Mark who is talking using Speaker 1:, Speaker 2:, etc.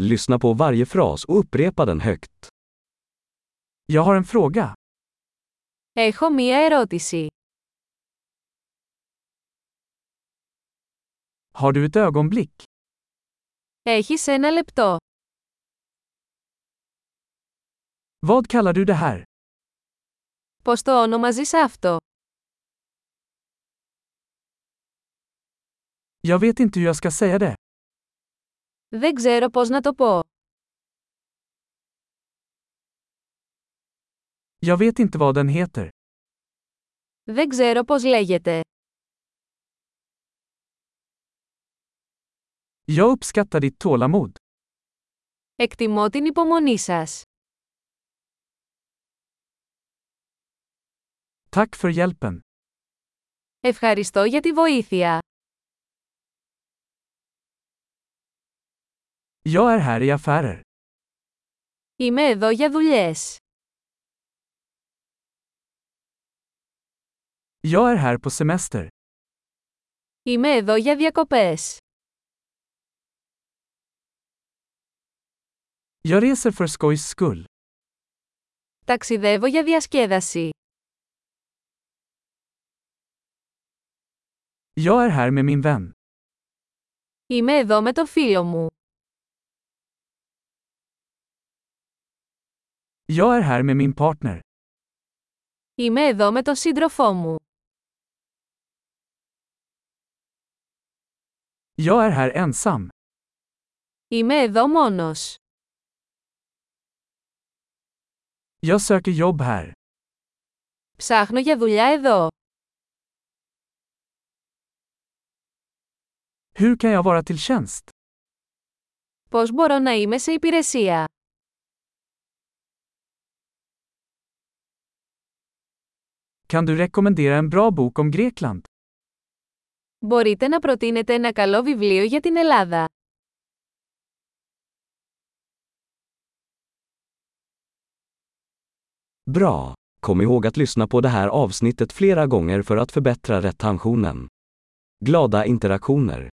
Speaker 1: Lyssna på varje fras och upprepa den högt. Jag har en fråga.
Speaker 2: Έχω μία ερώτηση.
Speaker 1: Har du ett ögonblick?
Speaker 2: Έχεις ένα λεπτό.
Speaker 1: Vad kallar du det här?
Speaker 2: Πώς το όνομαζεις αυτό?
Speaker 1: Jag vet inte hur jag ska säga det.
Speaker 2: Δεν ξέρω πώς να το πω.
Speaker 1: Jag vet inte vad den heter.
Speaker 2: Δεν ξέρω πώς λέγεται.
Speaker 1: Jag uppskattar ditt tålamod.
Speaker 2: Εκτιμώ την υπομονή σας.
Speaker 1: Tack för hjälpen.
Speaker 2: Ευχαριστώ για τη βοήθεια.
Speaker 1: Jag är här i affärer.
Speaker 2: Είμαι εδώ για δουλειές.
Speaker 1: Jag är här på semester.
Speaker 2: Είμαι εδώ για διακοπές.
Speaker 1: Jag reser för skojs skull.
Speaker 2: Ταξιδεύω για διασκέδαση.
Speaker 1: Jag är här med min vän.
Speaker 2: Είμαι εδώ με το φίλο μου.
Speaker 1: Jag är här med min partner.
Speaker 2: Είμαι εδώ με τον σύντροφό μου.
Speaker 1: Jag är här ensam.
Speaker 2: Είμαι εδώ μόνος.
Speaker 1: Jag söker jobb här.
Speaker 2: Ψάχνω για δουλειά εδώ.
Speaker 1: Hur kan jag vara till tjänst?
Speaker 2: Πώς μπορώ να είμαι σε υπηρεσία.
Speaker 1: Kan du rekommendera en bra bok om Grekland?
Speaker 2: Μπορείτε να προτείνετε ένα καλό βιβλίο για την Ελλάδα.
Speaker 3: Bra! Kom ihåg att lyssna på det här avsnittet flera gånger för att förbättra retentionen. Glada interaktioner!